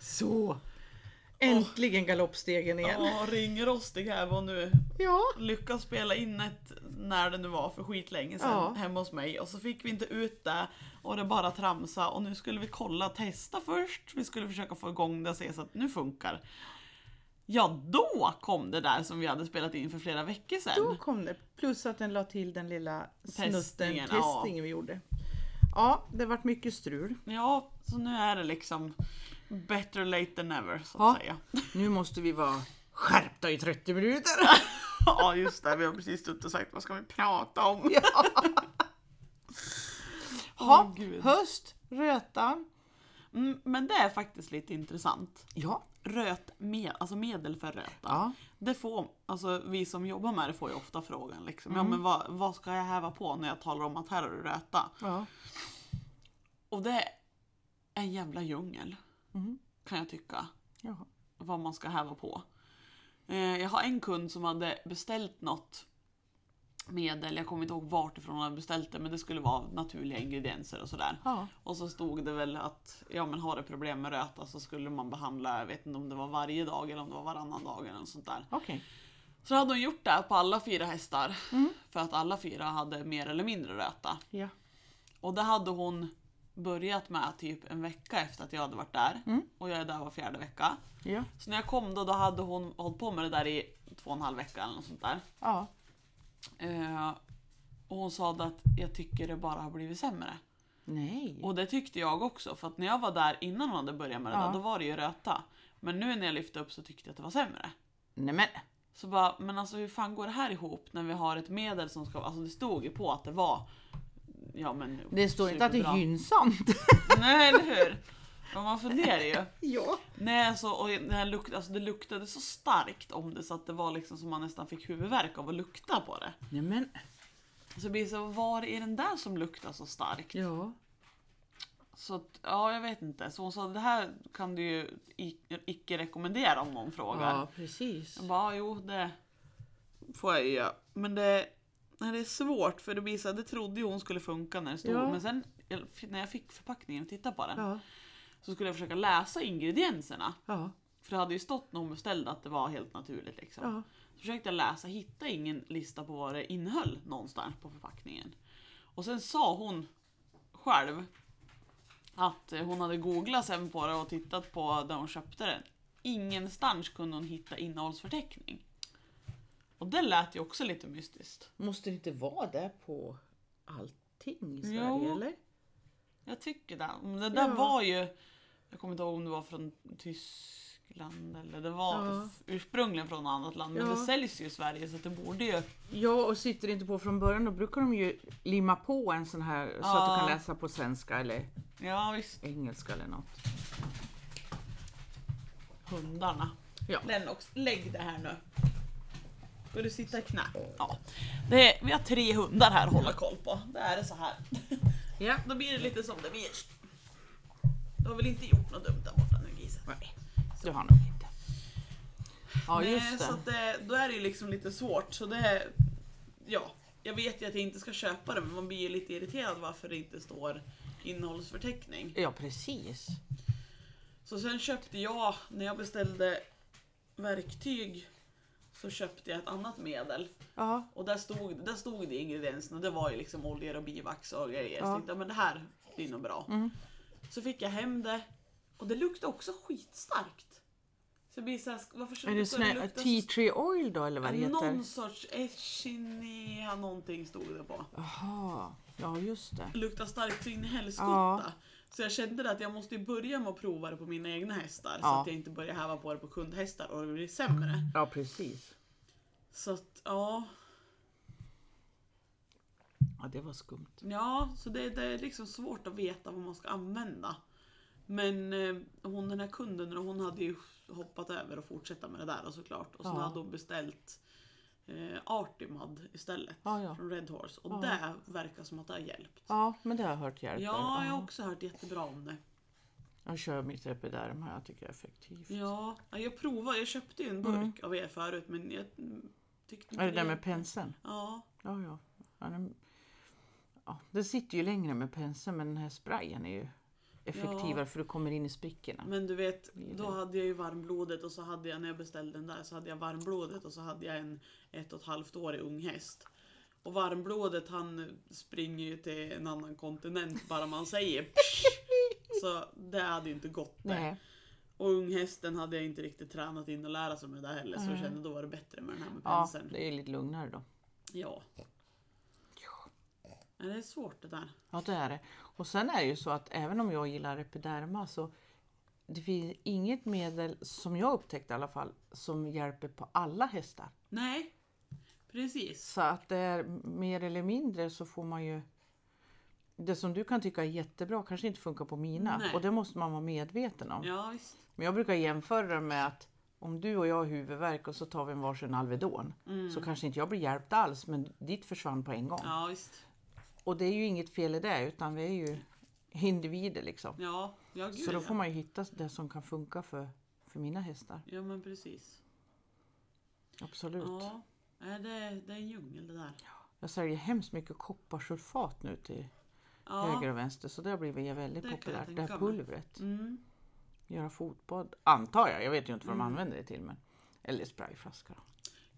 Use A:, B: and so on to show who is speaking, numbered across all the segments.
A: Så! Äntligen galoppstegen igen.
B: Ja, ring Rostig här vad nu
A: Ja.
B: lyckas spela in ett, när det nu var för skitlänge sedan,
A: Ja.
B: hemma hos mig. Och så fick vi inte ut det och det bara tramsa och nu skulle vi kolla, testa först. Vi skulle försöka få igång det och se så att nu funkar. Ja, då kom det där som vi hade spelat in för flera veckor sedan.
A: Då kom det. Plus att den la till den lilla snutten, testningen,
B: Testningen, ja.
A: vi gjorde. Ja, det vart mycket strul.
B: Ja, så nu är det liksom better late than never så att
A: Ja.
B: säga.
A: Nu måste vi vara skärpta i 30 minuter.
B: Ja, just det. Vi har precis stått och sagt vad ska vi prata om?
A: Ja.
B: Åh,
A: Ha,
B: gud.
A: höst, röta.
B: Mm, men det är faktiskt lite intressant.
A: Ja.
B: Röt, med, alltså medel för röta.
A: ja.
B: Det får, alltså vi som jobbar med det får ju ofta frågan liksom. Ja men vad, vad ska jag häva på när jag talar om att här har du röta?
A: ja.
B: Och det är en jävla djungel.
A: Mm.
B: Kan jag tycka.
A: Jaha.
B: Vad man ska häva på. Eh, jag har en kund som hade beställt något medel, jag kommer inte ihåg vart ifrån han hade beställt det men det skulle vara naturliga ingredienser och sådär.
A: Ja.
B: Och så stod det väl att ja, men har du problem med röta så skulle man behandla, jag vet inte om det var varje dag eller om det var varannan dag eller något sånt där.
A: Okej.
B: Så hade hon gjort det på alla fyra hästar.
A: Mm.
B: För att alla fyra hade mer eller mindre röta.
A: Ja.
B: Och det hade hon börjat med typ en vecka efter att jag hade varit där.
A: Mm.
B: Och jag är där var fjärde vecka.
A: Ja.
B: Så när jag kom då, då hade hon hållit på med det där i två och en halv vecka eller något sånt där.
A: Ja.
B: Eh, och hon sa det att jag tycker det bara har blivit sämre.
A: Nej.
B: Och det tyckte jag också, för att när jag var där innan hon hade börjat med det
A: Ja.
B: där, då var det ju röta. Men nu när jag lyfte upp så tyckte jag att det var sämre.
A: Nej men.
B: Så bara, men alltså hur fan går det här ihop när vi har ett medel som ska, alltså det stod ju på att det var, ja men
A: Det står inte att det är
B: superbra.
A: gynnsamt.
B: Nej eller hur! Men man funderar ju.
A: Ja.
B: Nej alltså, och det, här luk, alltså, det luktade så starkt om det så att det var liksom som man nästan fick huvudvärk av att lukta på det.
A: Nej men.
B: Så det blir så, var är den där som luktar så starkt?
A: Ja.
B: Så att, ja, jag vet inte. Så hon sa det här kan du ju i- icke rekommendera om någon frågar.
A: Ja, precis.
B: Jag bara, ja, jo det får jag ju göra. Men det, nej, det är svårt för det blir så här, det trodde ju hon skulle funka när det stod.
A: Ja.
B: Men sen jag- när jag fick förpackningen och tittade på den
A: Ja.
B: så skulle jag försöka läsa ingredienserna.
A: Ja.
B: För det hade ju stått när hon beställde att det var helt naturligt liksom.
A: Ja.
B: Så försökte jag läsa, hittade ingen lista på vad det innehöll någonstans på förpackningen. Och sen sa hon själv att eh, hon hade googlat sen på det och tittat på där hon köpte den. Ingenstans kunde hon hitta innehållsförteckning. Och det lät ju också lite mystiskt.
A: Måste det inte vara det på allting i Sverige
B: Jo.
A: eller?
B: Jag tycker det. Men det där
A: Ja.
B: var ju, jag kommer inte ihåg om det var från Tyskland eller det var
A: Ja.
B: ursprungligen från något annat land. Men
A: Ja.
B: det säljs ju i Sverige så att det borde ju
A: Ja, och sitter det inte på från början då brukar de ju limma på en sån här så att du
B: Ja.
A: kan läsa på svenska eller
B: Ja visst,
A: engelska eller något.
B: hundarna.
A: Ja.
B: Lennox, lägg det här nu. Ska du sitta i knä? Ja. Det är, vi har tre hundar här att hålla koll på. Det är det så här.
A: Ja.
B: Då blir det lite som det blir. Du har väl inte gjort något dumt där borta nu grisen?
A: Nej, du har nog inte. Ja,
B: Nej,
A: just
B: Så
A: det.
B: att det, då är det ju liksom lite svårt. Så det är, ja, jag vet ju att jag inte ska köpa det men man blir ju lite irriterad varför det inte står innehållsförteckning.
A: Ja, precis.
B: Så sen köpte jag, när jag beställde verktyg så köpte jag ett annat medel.
A: Ja,
B: Och där stod, där stod det i ingredienserna, det var ju liksom oljor och bivax och grejer. Så
A: Ja.
B: jag tänkte, men det här blir nog bra.
A: Mm.
B: Så fick jag hem det och det luktade också skitstarkt. Så jag blir såhär, sk- varför ska
A: är det
B: ska
A: sån här typ
B: lukta så
A: tea tree oil då eller vad det heter?
B: Någon sorts echinea någonting stod det på.
A: Jaha, ja just det.
B: Luktar starkt så in i
A: Ja.
B: helskotta. Så jag kände att jag måste ju börja med att prova det på mina egna hästar. Så
A: Ja.
B: att jag inte börjar häva på det på kundhästar och det blir sämre.
A: Ja, precis.
B: Så att ja,
A: Ja, det var skumt.
B: ja så det, det är liksom svårt att veta vad man ska använda. Men eh, hon den här kunden hon hade ju hoppat över och fortsätta med det där och såklart. Och sen
A: Ja.
B: hade hon beställt eh, Artimad istället.
A: Ja, ja.
B: Från Red Horse. Och
A: Ja.
B: det verkar som att det har hjälpt.
A: Ja, men det har jag hört hjälper.
B: Ja, jag har
A: ja.
B: också hört jättebra om det.
A: Jag kör mitt epiderm här, jag tycker det är effektivt.
B: Ja, jag provade, jag köpte ju en burk
A: Mm.
B: av er förut men jag mm, tyckte inte
A: Är det där med penseln?
B: Ja,
A: Ja, ja. ja, den, ja det sitter ju längre med penseln men den här sprayen är ju... effektivare för du kommer in i sprickorna.
B: Men du vet,
A: Det är
B: då
A: det.
B: hade jag ju varmblodet och så hade jag när jag beställde den där så hade jag varmblodet och så hade jag en ett och ett halvt årig ung häst. Och varmblodet han springer ju till en annan kontinent bara man säger psch. Så det hade ju inte gått det.
A: Nej.
B: Och unghästen hade jag inte riktigt tränat in och lära sig med det heller så jag
A: Mm.
B: kände då var det bättre med den här med
A: Ja,
B: penseln.
A: det är lite lugnare då.
B: Ja. Men det är svårt det där.
A: Ja, det är det. Och sen är det ju så att även om jag gillar epiderma så det finns inget medel, som jag upptäckte i alla fall, som hjälper på alla hästar.
B: Nej, precis.
A: Så att det är mer eller mindre så får man ju det som du kan tycka är jättebra kanske inte funkar på mina
B: Nej.
A: och det måste man vara medveten om.
B: Ja, visst.
A: Men jag brukar jämföra det med att om du och jag har huvudvärk och så tar vi en varsin Alvedon så kanske inte jag blir hjälpt alls men ditt försvann på en gång.
B: Mm. Ja, visst.
A: Och det är ju inget fel i det utan vi är ju individer liksom.
B: Ja, ja gud
A: Så då
B: ja.
A: får man ju hitta det som kan funka för, för mina hästar.
B: Ja men precis.
A: Absolut.
B: Ja. Nej, det, det är en djungel det där.
A: Jag säljer hemskt mycket kopparsulfat nu till höger
B: Ja.
A: och vänster så det har blivit väldigt
B: Det kan jag
A: populärt. Det
B: tänka
A: här
B: mig.
A: pulvret.
B: Mm.
A: Göra fotbad, antar jag. Jag vet ju inte vad de
B: Mm.
A: använder det till. Men... Eller sprayflaska. Då.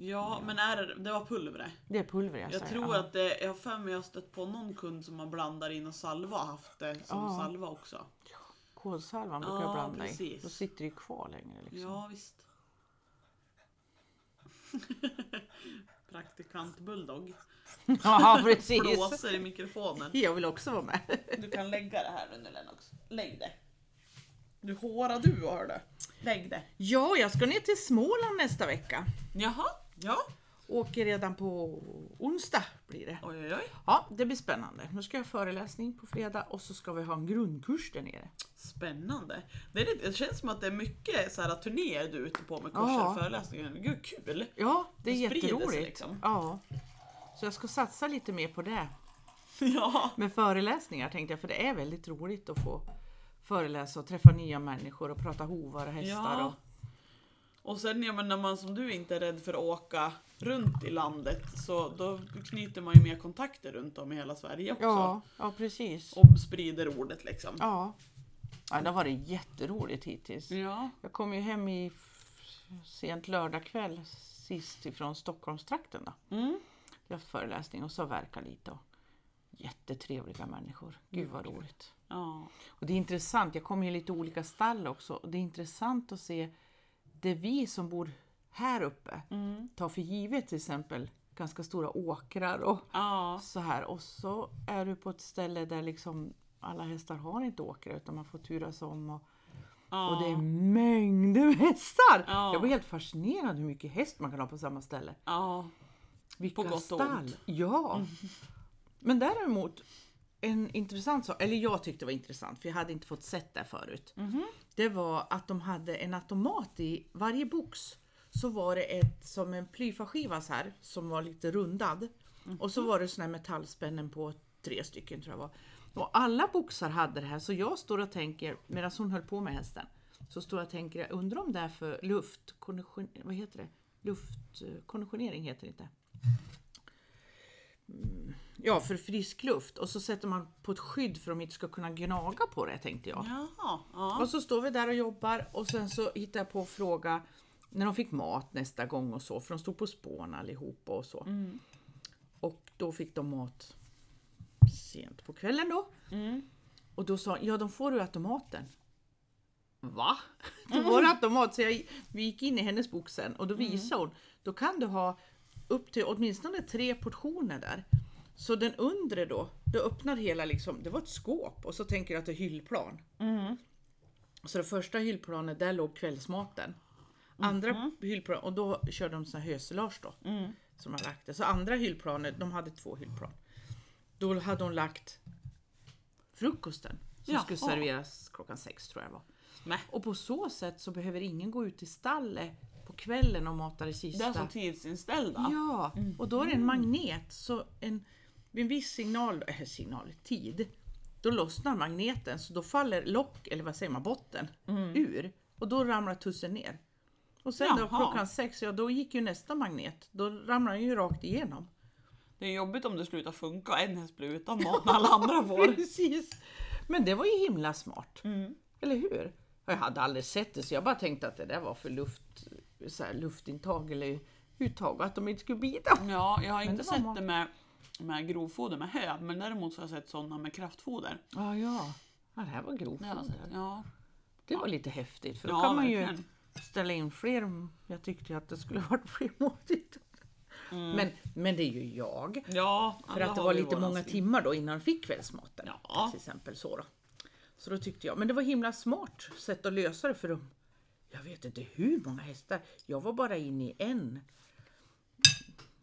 B: ja men är det, det var pulvret.
A: Det är pulver jag,
B: Jag
A: säger.
B: tror
A: ja.
B: att det, jag har för mig jag har stött på någon kund som har blandar in och salva och haft det som
A: Ja.
B: salva också.
A: Kolsalvan brukar
B: Ja,
A: jag blanda i.
B: precis.
A: Då sitter det ju kvar längre. Liksom.
B: Ja visst. Praktikant Bulldog.
A: Ja, precis.
B: Blåser i mikrofonen.
A: jag vill också vara med.
B: Du kan lägga det här under Lennox. Lägg det. Du hårar du och hörde. Lägg det.
A: Ja, jag ska ner till Småland nästa vecka.
B: Jaha. Ja.
A: Åker redan på onsdag blir det.
B: Oj oj oj.
A: Ja, det blir spännande. Nu ska jag ha föreläsning på fredag och så ska vi ha en grundkurs där nere.
B: Spännande. Det, är lite, det känns som att det är mycket så här, turnéer du är ute på med kurser
A: Ja.
B: och föreläsningar. Gud kul!
A: Ja, det är
B: Det sprider sig
A: jätteroligt.
B: liksom.
A: Ja. Så jag ska satsa lite mer på det.
B: Ja.
A: Med föreläsningar tänkte jag, för det är väldigt roligt att få föreläsa och träffa nya människor och prata hovar och hästar.
B: Ja.
A: Och,
B: Och sen ja, men när man som du inte är rädd för att åka runt i landet så då knyter man ju mer kontakter runt om i hela Sverige också.
A: ja, ja, precis.
B: Och sprider ordet liksom.
A: Ja. ja, det har varit jätteroligt hittills.
B: Ja.
A: Jag kom ju hem i f- sent lördag kväll sist ifrån Stockholmstrakten. Då.
B: Mm.
A: Jag har haft föreläsning och så verkar lite. Och jättetrevliga människor. Gud vad roligt.
B: ja.
A: Och det är intressant, jag kommer ju i lite olika stall också. Och det är intressant att se det vi som bor här uppe
B: Mm.
A: tar för givet till exempel ganska stora åkrar och
B: Ja.
A: så här. Och så är du på ett ställe där liksom alla hästar har inte åkrar utan man får turas om. Och,
B: ja.
A: och det är mängder med hästar!
B: Ja.
A: Jag blir helt fascinerad hur mycket häst man kan ha på samma ställe.
B: Ja.
A: Vilka
B: gott och ont.
A: Ja. Men däremot, en intressant sak, eller jag tyckte det var intressant för jag hade inte fått sett det förut.
B: Mhm.
A: Det var att de hade en automat i varje box. Så var det ett som en plyfaskiva så här som var lite rundad. Och
B: Mhm.
A: så var det såna här metallspännen på tre stycken tror jag var. Och alla boxar hade det här så jag står och tänker, medan hon höll på med hästen, så står jag och tänker, jag undrar om det är för luftkondition, vad heter det? Luftkonditionering heter det inte ja, för frisk luft och så sätter man på ett skydd för att de inte ska kunna gnaga på det tänkte jag.
B: Jaha. Ja.
A: Och så står vi där och jobbar och sen så hittar jag på att fråga när de fick mat nästa gång och så, för de stod på spån allihopa och så. Och då fick de mat sent på kvällen då.
B: Mm.
A: Och då sa ja de får du automaten. Va? Då var det
B: Mm.
A: automat. Så jag, vi gick in i hennes bok sen och då visade hon. Då kan du ha upp till åtminstone tre portioner där. Så den undre då, då öppnar hela liksom, det var ett skåp och så tänker du att det är hyllplan.
B: Mm.
A: Så det första hyllplanet, där låg kvällsmaten. Andra hyllplan, och då körde de såna här höselage då.
B: Mm.
A: Som har lagt det. Så andra hyllplanet, de hade två hyllplan. Då hade hon lagt frukosten som
B: Jaha.
A: skulle serveras klockan sex tror jag det var.
B: Nej.
A: Och på så sätt så behöver ingen gå ut i stallet på kvällen och mata
B: Det är
A: det
B: Mm.
A: sista.
B: som tidsinställda.
A: Ja, och då är det en magnet. Så en, vid en viss signal, äh, signal, tid, då lossnar magneten så då faller lock, eller vad säger man, botten
B: Mm.
A: ur. Och då ramlar tussen ner. Och sen då
B: Jaha.
A: klockan sex, ja då gick ju nästa magnet. Då ramlar den ju rakt igenom.
B: Det är jobbigt om det slutar funka och en häst blir utan mat när alla andra får.
A: Precis! Men det var ju himla smart.
B: Mm.
A: Eller hur? Och Jag hade aldrig sett det så jag bara tänkte att det där var för luft, så här, luftintag eller uttag och att de inte skulle bita.
B: Ja, jag har inte
A: det var
B: sett
A: mat.
B: det med, med grovfoder med hö, men däremot så har jag sett sådana med kraftfoder.
A: Ja, ja. ja det här var grovt.
B: Det har jag sett. Ja,
A: Det var lite häftigt för då
B: Ja,
A: kan man ju
B: verkligen.
A: ställa in fler. Jag tyckte ju att det skulle varit fler måltider.
B: Mm.
A: Men, men det är ju jag.
B: ja
A: För
B: alla
A: att det
B: har
A: var
B: vi
A: lite
B: våran
A: många
B: stil.
A: timmar då innan vi fick kvällsmaten.
B: Ja.
A: Till exempel så då. Så då tyckte jag, men det var himla smart sätt att lösa det för dem. Jag vet inte hur många hästar. Jag var bara inne i en.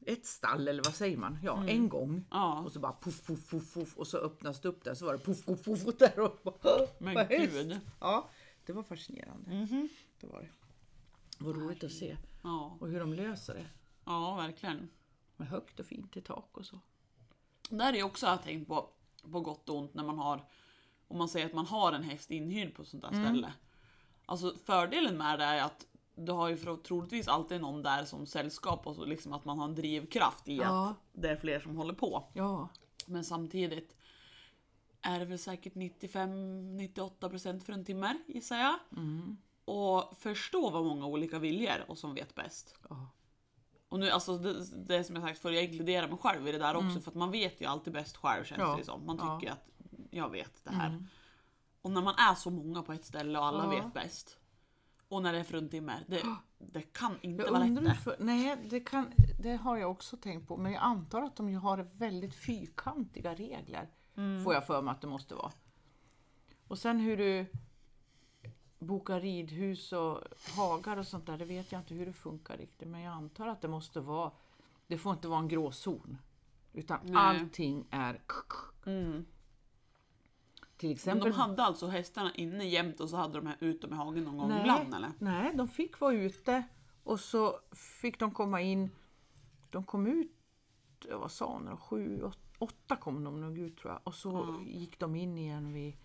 A: Ett stall eller vad säger man? Ja, en gång.
B: Mm. Ja,
A: Och så bara puff, puff, puff, puff och så öppnas det upp där så var det puff, puff, puff, puff där och bara,
B: men
A: vad häst?
B: gud. Mhm.
A: Ja, det var fascinerande. Det var det. Vad roligt att se.
B: Ja,
A: Och hur de löser det.
B: ja, verkligen.
A: Med högt och fint i tak och så.
B: Där är också har jag tänkt på, på gott och ont när man har, om man säger att man har en häst inhyrd på ett sånt där
A: Mm.
B: ställe. Alltså fördelen med det är att du har ju för, troligtvis alltid någon där som sällskap och så liksom att man har en drivkraft i
A: Ja.
B: att det är fler som håller på.
A: Ja,
B: Men samtidigt är det väl säkert 95-98% för en timme gissar jag.
A: Mm.
B: Och förstå vad många olika viljor och som vet bäst.
A: ja.
B: Och nu, alltså det, det som jag sagt för jag inkluderar mig själv i det där också för att man vet ju alltid bäst själv känns
A: Mm. Ja.
B: det som. Man
A: Ja. Mm.
B: tycker att jag vet det här. Och när man är så många på ett ställe och alla
A: Ja.
B: vet bäst. Och när det är för en timme, det, det kan inte
A: Jag
B: vara lätt
A: undrar hur
B: det.
A: för, nej, det, kan, det har jag också tänkt på. Men jag antar att de ju har väldigt fyrkantiga regler.
B: Mm.
A: Får jag för mig att det måste vara. Och sen hur du bokar ridhus och hagar och sånt där. Det vet jag inte hur det funkar riktigt. Men jag antar att det måste vara. Det får inte vara en gråzon. Utan
B: Nej.
A: allting är
B: Mm.
A: till
B: Men de
A: exempel.
B: hade alltså hästarna inne jämt och så hade de här ute med hagen någon gång
A: Nej.
B: ibland eller?
A: Nej, de fick vara ute och så fick de komma in. De kom ut, ja, vad sa hon, då? sju, åt- åtta kom de nog ut tror jag. Och så gick de in igen vid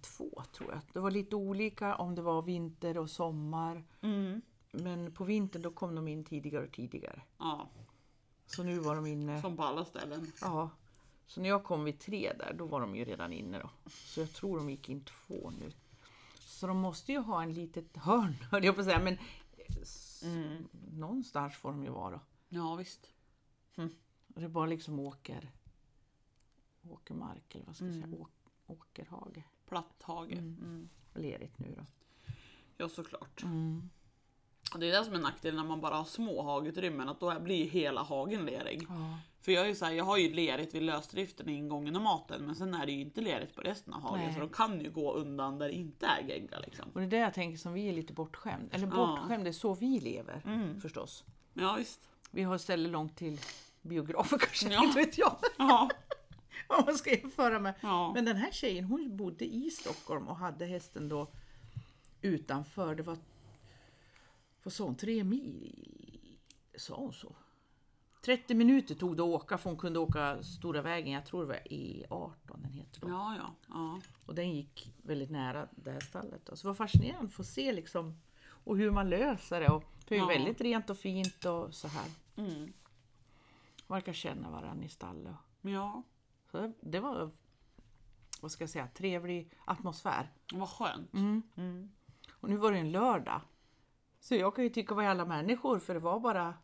A: två tror jag. Det var lite olika om det var vinter och sommar. Men på vintern då kom de in tidigare och tidigare.
B: Ja,
A: Så nu var de inne.
B: som på alla ställen.
A: Ja. Så när jag kom vid tre där, då var de ju redan inne då. Så jag tror de gick in två nu. Så de måste ju ha en litet hörn, höll jag på att säga. Men s-
B: Mm.
A: någonstans får de ju vara då.
B: Ja visst.
A: Och det bara liksom åker... Åkermark, eller vad ska jag
B: Mm.
A: säga? Åk, åkerhage.
B: Platt hage. Mm.
A: Lerigt nu då.
B: Ja såklart. Och Det är det som är nackdelen när man bara har små hagutrymmen, att då blir hela hagen lerig.
A: Ja.
B: För jag är ju så här, jag har ju lerigt vid lösdriften i ingången och maten men sen är det ju inte lerigt på resten av hagen
A: Nej.
B: så de kan ju gå undan där det inte är gegga liksom.
A: Och det är det jag tänker som vi är lite bortskämd. Eller
B: Ja. Mm.
A: bortskämd, det är så vi lever förstås.
B: Ja visst.
A: Vi har stället långt till biografer kanske,
B: Ja.
A: inte vet jag.
B: Ja.
A: Om man ska jämföra med.
B: ja.
A: Men den här tjejen hon bodde i Stockholm och hade hästen då utanför. Det var, vad sa hon, tre mil? Sa hon så? 30 minuter tog det att åka för hon kunde åka stora vägen, jag tror det var E18 den heter då.
B: Ja, ja, ja.
A: Och den gick väldigt nära det här stallet. Då. Så det var fascinerande att få se liksom och hur man löser det. Och det är ju
B: Ja.
A: väldigt rent och fint och så här.
B: Mm.
A: Verkar känna varandra i stallet.
B: Ja,
A: Så det, det var, vad ska jag säga, trevlig atmosfär.
B: vad skönt.
A: Och nu var det en lördag. Så jag kan ju tycka vad alla människor för det var bara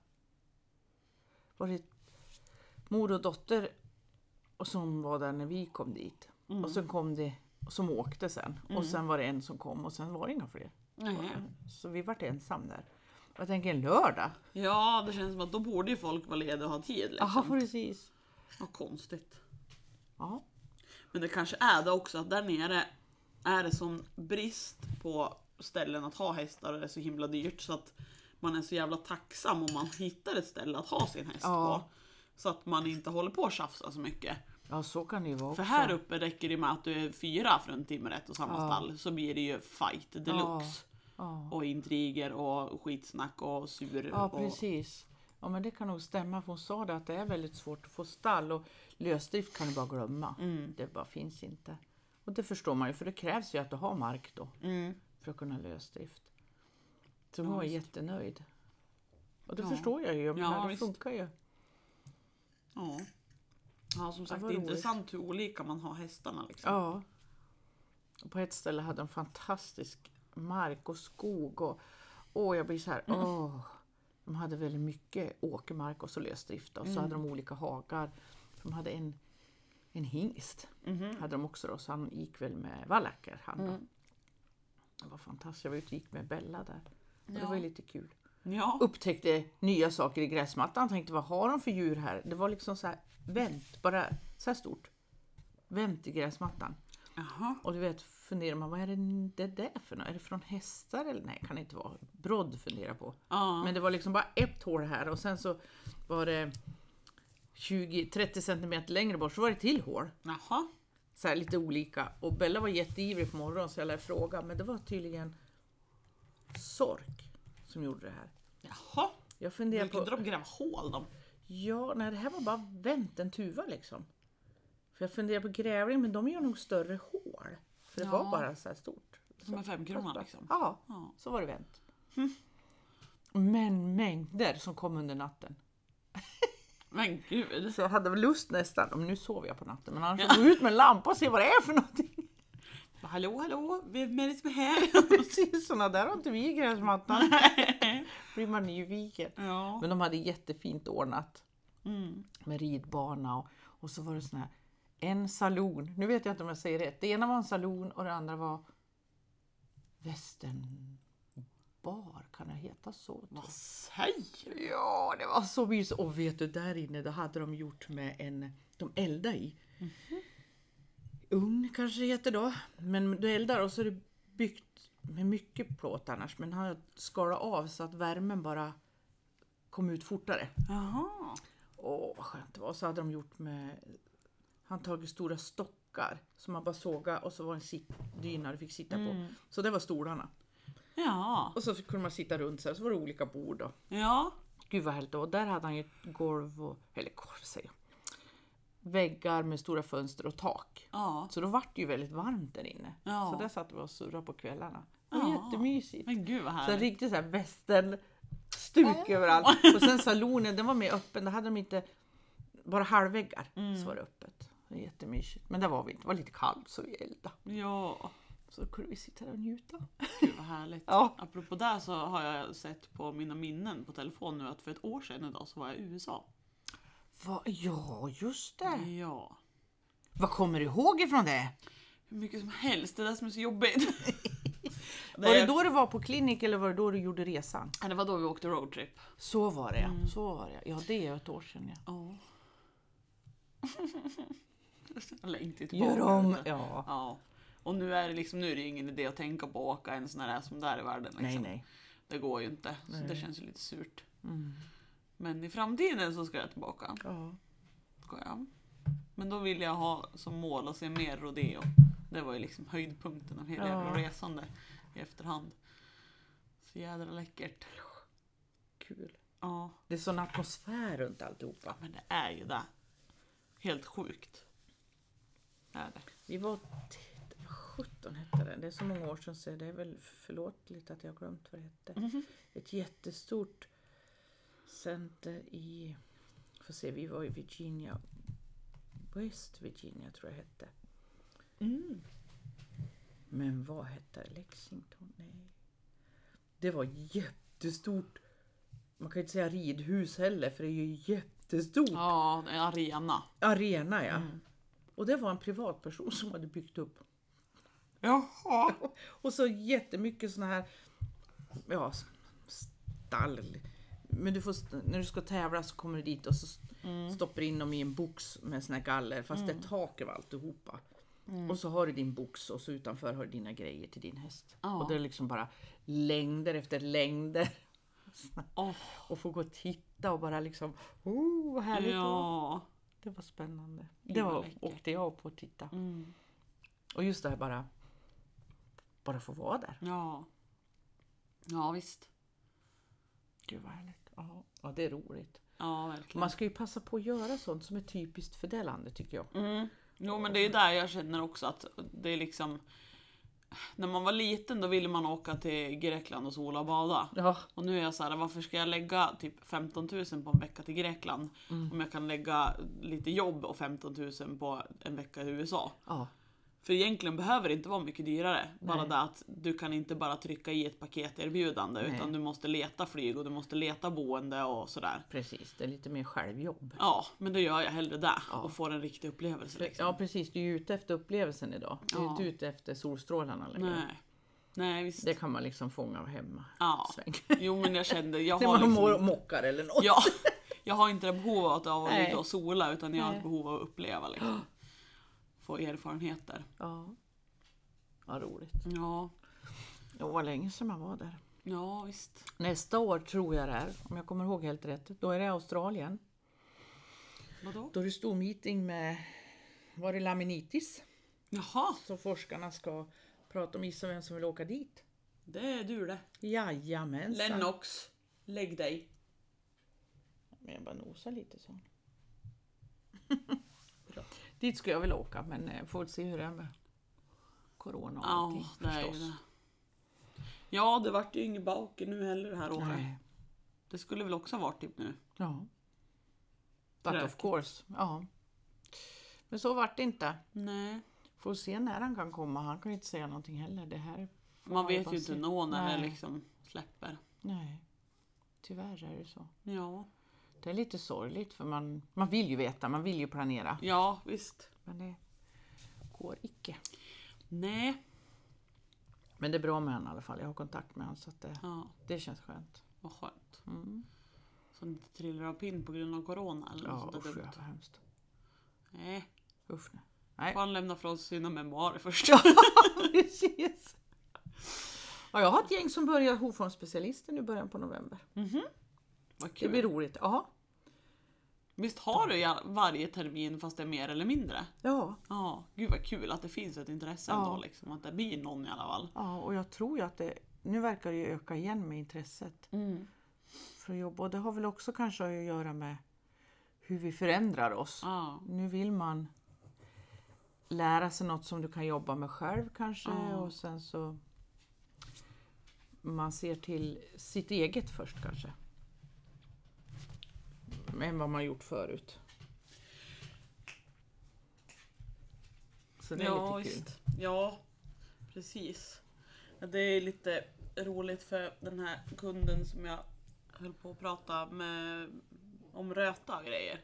A: var det mor och dotter och som var där när vi kom dit. Och sen kom det som åkte sen. Och sen var det en som kom och sen var det inga fler.
B: Nej.
A: Så vi vart ensam där. Och jag tänker en lördag.
B: Ja, det känns som att då borde ju folk vara lediga och ha tid
A: Jaha
B: liksom.
A: precis.
B: Vad konstigt.
A: Ja.
B: Men det kanske är det också att där nere är det som brist på ställen att ha hästar och det är så himla dyrt så att man är så jävla tacksam om man hittar ett ställe att ha sin häst
A: Ja.
B: på. Så att man inte håller på och tjafsar så mycket.
A: ja så kan det ju vara också.
B: För här uppe räcker det med att du är fyra från timret och samma
A: Ja.
B: stall så blir det ju fight deluxe.
A: Ja.
B: Och intriger och skitsnack och sur.
A: Ja,
B: och...
A: precis. Ja, men det kan nog stämma, för hon sa det att det är väldigt svårt att få stall och lösdrift kan du bara glömma.
B: Mm.
A: Det bara finns inte. Och det förstår man ju, för det krävs ju att du har mark då
B: Mm.
A: för att kunna lösdrift. Så hon var jättenöjd. Och det
B: Ja.
A: förstår jag ju, jag menar, det
B: visst.
A: funkar ju.
B: Ja. ja, som sagt
A: vad
B: det är
A: roligt.
B: intressant hur olika man har hästarna. Liksom.
A: Ja. Och På ett ställe hade de fantastisk mark och skog. Och, åh, jag blir så här, åh. De hade väldigt mycket åkermark och så lösdrift. Och så hade de olika hagar. De hade en, en hingst. Hade de också då, så han gick väl med vallacker. Han då. Det var fantastiskt. Jag var ute och gick med Bella där. Och Det var ju lite kul.
B: Ja.
A: Upptäckte nya saker i gräsmattan. Tänkte, vad har de för djur här? Det var liksom så här, vänt, bara så här stort. Vänt i gräsmattan.
B: Jaha.
A: Och du vet, funderar man, vad är det det där för något? Är det från hästar eller? Nej, kan det inte vara. Brodd funderar på.
B: Ja.
A: Men det var liksom bara ett hål här och sen så var det 20-30 centimeter längre bort så var det ett till hål.
B: Jaha.
A: Så här lite olika. Och Bella var jätteivrig på morgonen så jag lär fråga. Men det var tydligen sork som gjorde det här.
B: Jaha.
A: Jag funderar
B: Brukar
A: på...
B: inte de gräva hål de?
A: Ja, nej det här var bara vänt en tuva liksom. För jag funderar på grävling, men de gör nog större hål. För det
B: Ja.
A: var bara så här stort.
B: Som en femkrona liksom?
A: Ja,
B: Ja.
A: så var det vänt. Men mängder som kom under natten.
B: Men gud.
A: Så jag hade väl lust nästan, om nu sover jag på natten, men annars att gå ut med en lampa och se vad det är för någonting.
B: Hallå hallå, vem är det som är här?
A: Precis, sådana där har inte vi i gräsmattan. blir man nyfiken.
B: ja.
A: Men de hade jättefint ordnat
B: Mm.
A: med ridbana och, och så var det sån här en saloon. Nu vet jag inte om jag säger rätt. Det ena var en saloon och det andra var västernbar, kan det heta så? tror jag.
B: Vad säger du?
A: Ja, det var så mysigt. Och vet du, där inne då hade de gjort med en, de eldade i. Ugn kanske det heter då. Men du eldar och så är det byggt med mycket plåt annars. Men han skalat av så att värmen bara kom ut fortare.
B: Jaha.
A: Åh, vad skönt det var. Och så hade de gjort med, han tagit stora stockar som man bara såga och så var det en sittdyna du fick sitta på. Så det var stolarna.
B: Ja.
A: Och så kunde man sitta runt så här, så var det olika bord då.
B: Ja.
A: Gud vad härligt. Och där hade han ju ett golv och, eller golv säger jag, väggar med stora fönster och tak.
B: Ja.
A: Så då vart det ju väldigt varmt där inne.
B: Ja.
A: Så där satt vi och surrade på kvällarna. Det var
B: Ja.
A: jättemysigt.
B: Men gud vad
A: Så en
B: härligt.
A: riktig så här västernstuk överallt. Och sen salonen, den var mer öppen. Där hade de inte bara halvväggar.
B: Mm.
A: Så var det öppet. Det var jättemysigt. Men där var vi inte. Det var lite kallt så vi eldade.
B: Ja.
A: Så då kunde vi sitta där och njuta.
B: Gud vad härligt.
A: Ja.
B: Apropå det så har jag sett på mina minnen på telefon nu att för ett år sedan idag så var jag i USA.
A: Va? Ja, just det.
B: Ja.
A: Vad kommer du ihåg ifrån det?
B: Hur mycket som helst, det är det som är så jobbigt.
A: Var det då du var på klinik eller var det då du gjorde resan?
B: Ja, det var då vi åkte roadtrip.
A: Så var det ja. Så var det. Ja, det är ett år sedan ja.
B: Ja. jag längtar tillbaka.
A: Gör om!
B: vet du.
A: Ja.
B: Ja. Och nu är det liksom, nu är det ju ingen idé att tänka på att åka en sån här som där i världen. Liksom.
A: Nej, nej.
B: Det går ju inte, så det
A: Nej.
B: känns ju lite surt.
A: Mm.
B: Men i framtiden så ska jag tillbaka.
A: Ja.
B: Ska jag. Men då vill jag ha som mål att se mer rodeo. Det var ju liksom höjdpunkten av hela
A: Ja.
B: jävla resan där i efterhand. Så jädra läckert.
A: Kul.
B: Ja,
A: Det är sån atmosfär runt alltihopa.
B: men det är ju det. Helt sjukt. Det Är det.
A: Vi var... t- vad 17 hette den. Det är så många år sedan så det är väl förlåtligt att jag har glömt vad det hette. Ett jättestort center i... Får se, vi var i Virginia. West Virginia tror jag hette. Men vad hette det? Lexington? Nej. Det var jättestort. Man kan ju inte säga ridhus heller för det är ju jättestort.
B: Ja, en arena.
A: Arena ja. Och det var en privatperson som hade byggt upp.
B: Jaha.
A: Och så jättemycket såna här ja, s- stall. Men du får, st- när du ska tävla så kommer du dit och så s-
B: Mm.
A: stoppar in dem i en box med såna här galler fast det är tak över alltihopa.
B: Mm.
A: Och så har du din box och så utanför har du dina grejer till din häst.
B: Ja.
A: Och det är liksom bara längder efter längder.
B: Åh,
A: Och få gå och titta och bara liksom, oh vad härligt det var."
B: ja.
A: Det var spännande.
B: Gud,
A: Det
B: vad
A: var,
B: läckert.
A: åkte jag på att titta.
B: Mm.
A: Och just det här bara, bara få vara där.
B: Ja. Ja, visst.
A: Gud vad härligt. Ja, ja det är roligt.
B: Ja,
A: Och
B: verkligen.
A: Man ska ju passa på att göra sånt som är typiskt för det landet tycker jag.
B: Mm. Jo men det är ju där jag känner också att det är liksom När man var liten då ville man åka till Grekland och sola och bada.
A: Ja,
B: Och nu är jag så här, varför ska jag lägga typ 15 000 på en vecka till Grekland? Om jag kan lägga lite jobb och 15 000 på en vecka i USA.
A: ja.
B: För egentligen behöver det inte vara mycket dyrare. Bara det att du kan inte bara trycka i ett paketerbjudande
A: Nej.
B: utan du måste leta flyg och du måste leta boende och sådär.
A: Precis, det är lite mer självjobb.
B: Ja, men då gör jag hellre det och får en riktig upplevelse. Liksom.
A: Ja precis, du är ju ute efter upplevelsen idag. Du är
B: Ja.
A: inte ute efter solstrålarna längre.
B: Nej. Nej, visst.
A: Det kan man liksom fånga av hemma.
B: Ja.
A: Sväng.
B: Jo, men jag kände, jag
A: När
B: har
A: man mår,
B: liksom,
A: mockar eller något.
B: ja, jag har inte det behovet av att
A: Nej.
B: ligga och sola utan jag har ett
A: Nej.
B: behov av att uppleva liksom. Få erfarenheter.
A: Ja. Vad roligt.
B: Ja,
A: Det var länge sedan man var där.
B: ja visst.
A: Nästa år tror jag det är, om jag kommer ihåg helt rätt, då är det Australien.
B: Vadå?
A: Då är det stor meeting med, var det laminitis?
B: Jaha,
A: Så forskarna ska prata om gissa vem som vill åka dit.
B: det är du det.
A: Jajamensan.
B: Lennox, lägg dig.
A: Men jag bara nosar lite så. dit skulle jag vilja åka men eh, får väl se hur det är med Corona och
B: Ja,
A: allting
B: det är ju
A: förstås.
B: det. Ja, det vart ju ingen Bauke nu heller det här året.
A: Nej.
B: Det skulle väl också ha varit typ nu.
A: Ja. But of
B: Tråkigt.
A: course. Ja. Men så vart det inte.
B: Nej.
A: Får se när han kan komma. Han kan ju inte säga någonting heller. Det här får
B: Man vet
A: bara
B: ju inte
A: se.
B: nå när det
A: Nej.
B: liksom släpper.
A: Nej. Tyvärr är det så.
B: Ja,
A: Det är lite sorgligt för man, man vill ju veta, man vill ju planera.
B: ja visst.
A: Men det går icke.
B: Nej.
A: Men det är bra med honom i alla fall. Jag har kontakt med honom så att det,
B: Ja,
A: det känns skönt.
B: vad skönt.
A: Mm.
B: Så ni inte trillar av pinn på grund av corona eller
A: Ja,
B: något sånt där
A: usch ja,
B: dumt.
A: vad hemskt.
B: Nej,
A: Usch nej.
B: får
A: Nej,
B: han lämna från sig sina memoarer först.
A: precis. Ja, jag har ett gäng som börjar hovformsspecialisten i början på november.
B: Vad
A: Det blir
B: kul.
A: roligt. Ja.
B: Visst har du ja- varje termin fast det är mer eller mindre?
A: Ja.
B: Ja, gud vad kul att det finns ett intresse
A: Ja.
B: ändå liksom. Att det blir någon i alla fall.
A: ja, och jag tror ju att det nu verkar det ju öka igen med intresset för att jobba. Och det har väl också kanske att göra med hur vi förändrar oss.
B: Ja.
A: Nu vill man lära sig något som du kan jobba med själv kanske
B: Ja.
A: och sen så man ser till sitt eget först kanske. Än vad man gjort förut. Så det är
B: ja,
A: lite kul.
B: visst. Ja, precis. Ja, Det är lite roligt för den här kunden som jag höll på att prata med om röta och grejer.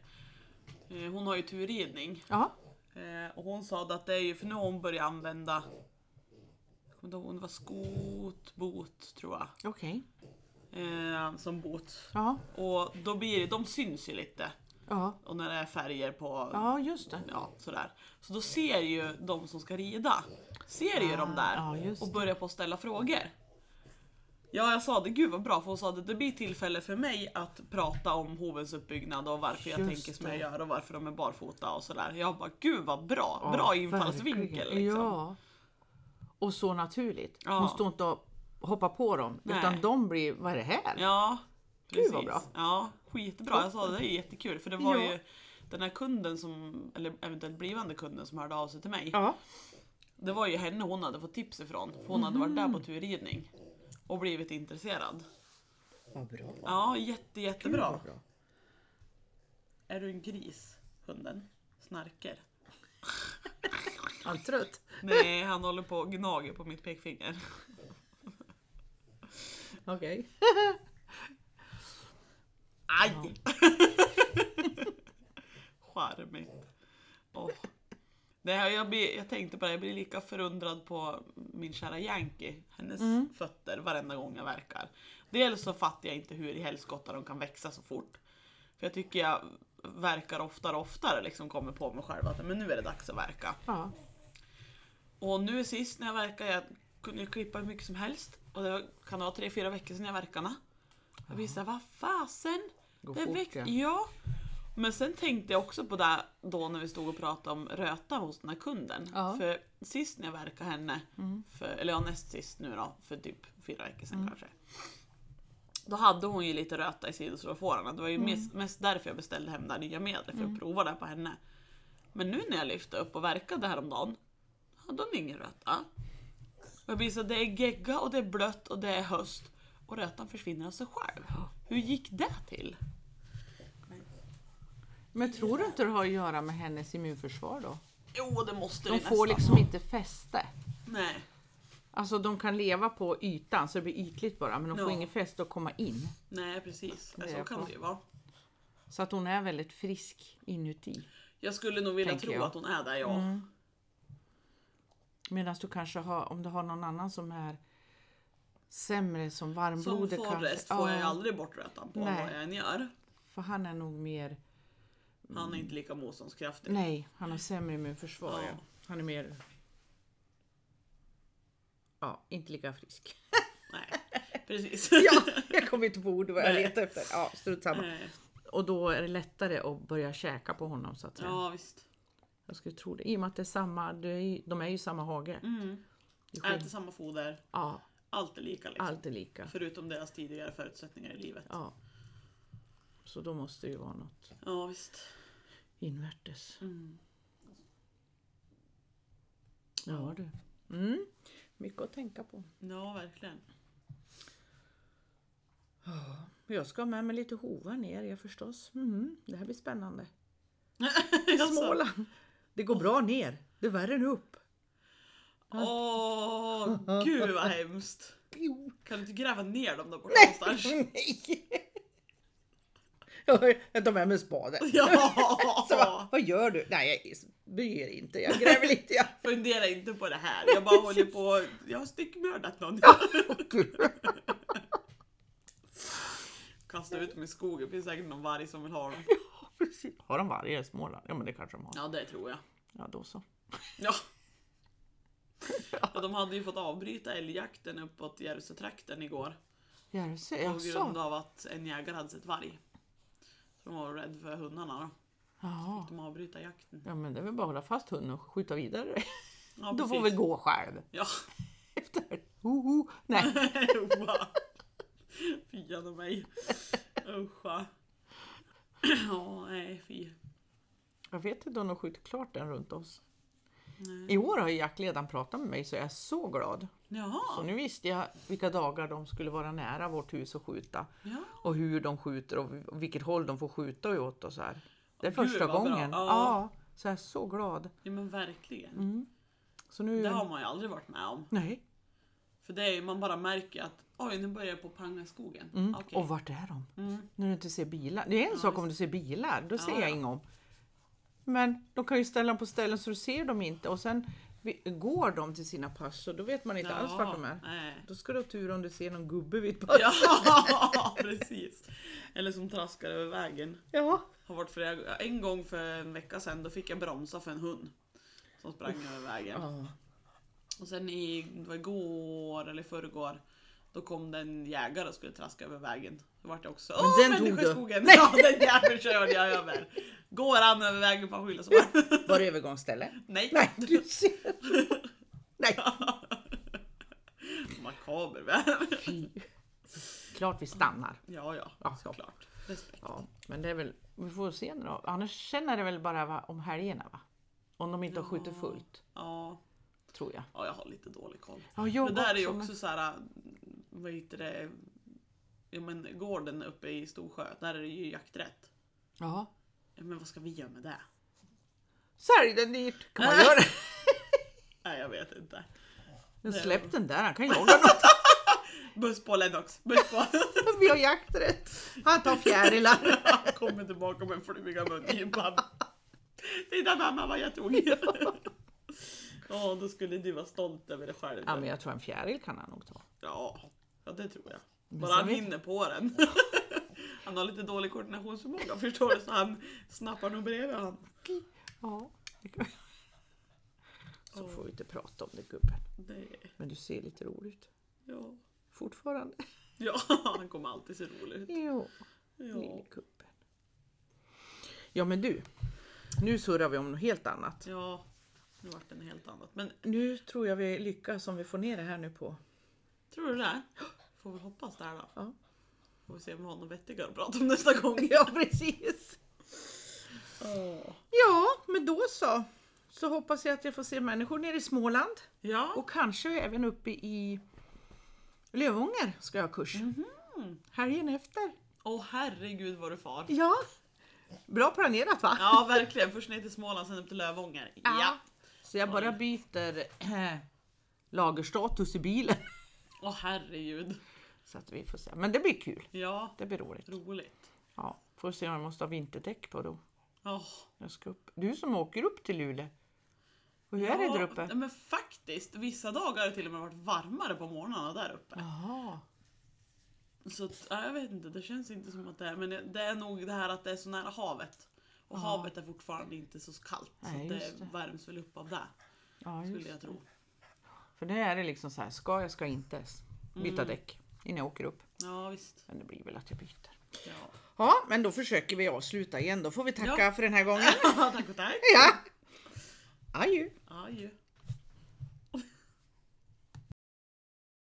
B: Eh, Hon har ju turridning
A: Ja,
B: eh, och hon sa att det är ju för nu har hon börjat använda jag kommer inte ihåg om det var skotbot tror jag.
A: okej.
B: Eh, som bot.
A: Ja,
B: Och då blir det, de syns ju lite.
A: ja.
B: Och när det är färger på
A: Ja, just det.
B: ja, sådär. Så då ser ju de som ska rida, ser ju de där
A: Ah, Ja, just
B: och börjar på att ställa frågor. Ja, jag sa det, gud vad bra, för hon sa att det blir tillfälle för mig att prata om hovens uppbyggnad och varför jag
A: Just
B: tänker som jag
A: det.
B: gör och varför de är barfota och sådär. Jag bara, gud vad bra,
A: Ja,
B: bra infallsvinkel
A: verkligen.
B: liksom.
A: Ja. Och så naturligt.
B: Ja.
A: Hon står inte och hoppar på dem,
B: Nej.
A: utan de blir, vad är det här?
B: Ja,
A: Gud,
B: precis.
A: vad bra.
B: Ja, skitbra. Jag sa det, det är jättekul för det var
A: Ja.
B: ju den här kunden som, eller eventuellt blivande kunden som hörde av sig till mig.
A: Ja.
B: Det var ju henne hon hade fått tips ifrån. För hon hade varit där på turridning. Och blivit intresserad.
A: Vad bra.
B: Ja, jätte, jättebra.
A: Vad bra.
B: Är du en gris, hunden? Snarker?
A: Han är trött.
B: Nej, han håller på och gnager på mitt pekfinger.
A: Okej.
B: Aj! Charmigt. Åh. Det här, jag, blir, jag tänkte på det, jag blir lika förundrad på min kära Yankee. Hennes fötter varenda gång jag verkar. Dels så fattar jag inte hur i helskotta de kan växa så fort. För jag tycker jag verkar oftare och oftare liksom kommer på mig själv att men nu är det dags att verka.
A: Ja.
B: Och nu sist när jag verkade, jag kunde ju klippa hur mycket som helst. Och det kan vara tre, fyra veckor sedan jag verkade. Jag visste, vad fasen?
A: Går
B: Det
A: fort,
B: väck-
A: ja.
B: ja. Men sen tänkte jag också på det då när vi stod och pratade om röta hos den här kunden.
A: Ja. Mm.
B: För sist när jag verkade henne, för, eller ja, näst sist nu då, för typ fyra veckor sedan kanske. Då hade hon ju lite röta i sidostrofårarna. Det var ju
A: Mm.
B: mest, mest därför jag beställde hem det här nya medlet, för att prova det på henne. Men nu när jag lyfte upp och verkade häromdagen, hade hon ingen röta. Och jag blir så, det är gegga och det är blött och det är höst. Och rötan försvinner av sig själv. Hur gick det till?
A: Men tror du inte det har att göra med hennes immunförsvar då?
B: Jo, det måste
A: De
B: vi
A: får
B: nästan
A: liksom
B: ha.
A: inte fäste.
B: Nej.
A: Alltså de kan leva på ytan så det blir ytligt bara men de får
B: Ja.
A: ingen fäste att komma in.
B: Nej, precis.
A: Det är
B: Så
A: jag
B: kan
A: på.
B: det ju vara.
A: Så att hon är väldigt frisk inuti.
B: Jag skulle nog vilja
A: Tänker
B: tro
A: jag. Mm.
B: att hon är där, ja.
A: Medan du kanske har, om du har någon annan som är sämre som
B: Som
A: varmblodig
B: Forrest får jag ju aldrig bort rötan på
A: Nej.
B: vad jag än gör.
A: För han är nog mer,
B: Han är inte lika motståndskraftig.
A: Mm. nej han har sämre immunförsvar.
B: Ja.
A: Ja. Han är mer, ja inte lika frisk.
B: Nej, precis.
A: Ja, jag kommer inte på ord vad jag
B: Nej.
A: letar efter. Ja, strunt samma.
B: Eh,
A: Och då är det lättare att börja käka på honom så att säga.
B: ja, visst.
A: Jag skulle tro det. I och med att det är samma, det är ju, de är ju samma hage.
B: Mm.
A: Det är
B: Äter
A: skillnad.
B: samma foder,
A: Ja,
B: allt är lika liksom.
A: allt är lika.
B: Förutom deras tidigare förutsättningar i livet. Ja,
A: Ja. Så då måste det ju vara något
B: visst.
A: invärtes.
B: Mm.
A: Ja du. Mm. Mycket att tänka på.
B: Ja, verkligen.
A: Jag ska ha med mig lite hovar ner er förstås. Mm. Det här blir spännande.
B: Alltså,
A: Småland! Det går bra ner. Det är värre än upp.
B: Åh, gud vad hemskt.
A: Pio.
B: Kan du inte gräva ner dem där borta någonstans?
A: Nej! Jag tar med mig spaden. Så, vad-
B: Ja!
A: vad gör du? Nej, jag bryr mig inte. Jag gräver lite. Jag...
B: Fundera inte på det här. Jag bara håller på. Jag har styckmördat någon. Kasta ut dem i skogen. Det finns säkert någon varg som vill ha dem.
A: Precis. Har de vargar i Småland? Ja men det kanske de har.
B: Ja, det tror jag.
A: Ja då så.
B: Ja. Och de hade ju fått avbryta älgjakten uppåt Järvsötrakten igår.
A: Järvsö,
B: På grund
A: jaså?
B: av att en jägare hade sett varg. Så de var rädda för hundarna då.
A: Jaha.
B: De avbryta jakten.
A: Ja men det är väl bara att hålla fast hunden och skjuta vidare.
B: Ja,
A: Då får vi
B: precis.
A: gå själv.
B: Ja.
A: Efter. Ho, ho. Nej.
B: Wow. Fian och mig. Usch. va. Ja, nej fy.
A: Jag vet inte om de skjuter klart den runt oss.
B: Nej.
A: I år har ju Jack redan pratat med mig så jag är så glad. Så
B: Jaha.
A: nu visste jag vilka dagar de skulle vara nära vårt hus och skjuta.
B: Ja.
A: Och hur de skjuter och vilket håll de får skjuta och åt och så här. Det är
B: Gud,
A: första
B: vad bra.
A: gången.
B: Ja.
A: Ja, så jag är så glad.
B: ja, men verkligen.
A: Mm. Så nu...
B: Det har man ju aldrig varit med om.
A: Nej.
B: För det är ju, man bara märker att oj, nu börjar jag på att panga i skogen.
A: Mm.
B: Okej.
A: Och vart är de?
B: Mm.
A: När du inte ser bilar. Det är en sak om du ser bilar, då ser
B: Ja,
A: jag
B: ja.
A: inget om. Men de kan ju ställa dem på ställen så du ser dem inte och sen vi- går de till sina pass och då vet man inte alls vart de är.
B: Nej.
A: Då ska du ha tur om du ser någon gubbe vid ett pass.
B: Ja, precis. Eller som traskar över vägen.
A: Ja.
B: Har varit flera, en gång för en vecka sedan då fick jag bromsa för en hund. Som sprang över vägen.
A: Ja.
B: Och sen i, det var igår eller i förrgår. Då kom det en jägare och skulle traska över vägen. Då vart jag också Åh,
A: den
B: den människor
A: tog
B: i
A: du."
B: skogen! Ja, den jäveln körde jag över. Går han över vägen på en skylla så bara,
A: Var det övergångsställe?
B: nej.
A: Nej, du ser. Nej.
B: Makaber värld.
A: Fy. Klart vi stannar.
B: Ja, ja,
A: Ja.
B: såklart. Respekt.
A: Ja, men det är väl, vi får se nu då. Annars känner det väl bara va, om helgerna va? Om de inte har skjutit
B: Ja.
A: fullt,
B: Ja,
A: tror jag.
B: ja, jag har lite dålig koll.
A: Ja, jag
B: Det där är ju
A: också, men-
B: också så här, vad heter det, ja, men gården uppe i Storsjö, där är det ju jakträtt.
A: Ja.
B: Ja, men vad ska vi göra med det?
A: Sälj den dyrt! Kan man göra det?
B: Nej, jag vet inte.
A: Men
B: Nej.
A: släpp den där, han kan jaga något.
B: Buss på Lennox, buss på.
A: Vi har jakträtt. Han tar fjärilar.
B: Han kommer tillbaka med en fluga i mungipan. Titta mamma vad jag tog. Ja, då skulle du vara stolt över dig själv.
A: Ja, men jag tror en fjäril kan han nog ta.
B: Ja, ja det tror jag.
A: Men
B: Bara
A: sen
B: han
A: vet-
B: hinner på den. Han har lite dålig koordinationsförmåga förstår du, så han snappar nog bredvid han.
A: Ja. det kan- Så får vi inte prata om det gubben.
B: Det,
A: Men du ser lite rolig ut.
B: ja.
A: Fortfarande.
B: ja, han kommer alltid se rolig ut.
A: Jo,
B: Ja.
A: lillgubben. Ja men du. Nu surrar vi om något helt annat.
B: ja, nu vart det något helt annat. Men
A: Nu tror jag vi lyckas om vi får ner det här nu på.
B: tror du det? Får vi hoppas det här då.
A: Ja.
B: Får vi se om vi har något vettigare att prata om nästa gång.
A: Ja precis. Ja men då så. Så hoppas jag att jag får se människor nere i Småland.
B: Ja,
A: Och kanske även uppe i Lövånger ska jag ha kurs. Helgen efter.
B: åh herregud vad oh, du far.
A: Ja. Bra planerat va?
B: Ja, verkligen. Först ner till Småland, sen upp till Lövånger. Ja.
A: Så jag bara byter eh, lagerstatus i bilen.
B: Åh herregud.
A: Så att vi får se. Men det blir kul.
B: Ja,
A: Det blir roligt.
B: roligt.
A: Ja, får se om jag måste ha vinterdäck på då.
B: Åh.
A: Jag ska upp. Du som åker upp till Luleå. Och hur är det där uppe?
B: Ja, men faktiskt. Vissa dagar har det till och med varit varmare på morgnarna där uppe.
A: Jaha.
B: Så att, ja, jag vet inte, det känns inte som att det är. Men det- det är nog det här att det är så nära havet. Och havet är fortfarande inte så kallt. Så
A: Nej,
B: att
A: just det.
B: det värms väl upp av det,
A: Ja,
B: skulle jag
A: just.
B: tro.
A: För det är det liksom så här, ska jag, ska jag inte s-
B: Mm.
A: byta däck innan jag åker upp.
B: Ja, visst.
A: Men det blir väl att jag byter.
B: Ja.
A: Ja, men då försöker vi avsluta igen. Då får vi tacka
B: Ja.
A: för den här gången.
B: tack och tack.
A: Ja. Adjö.
B: Adjö.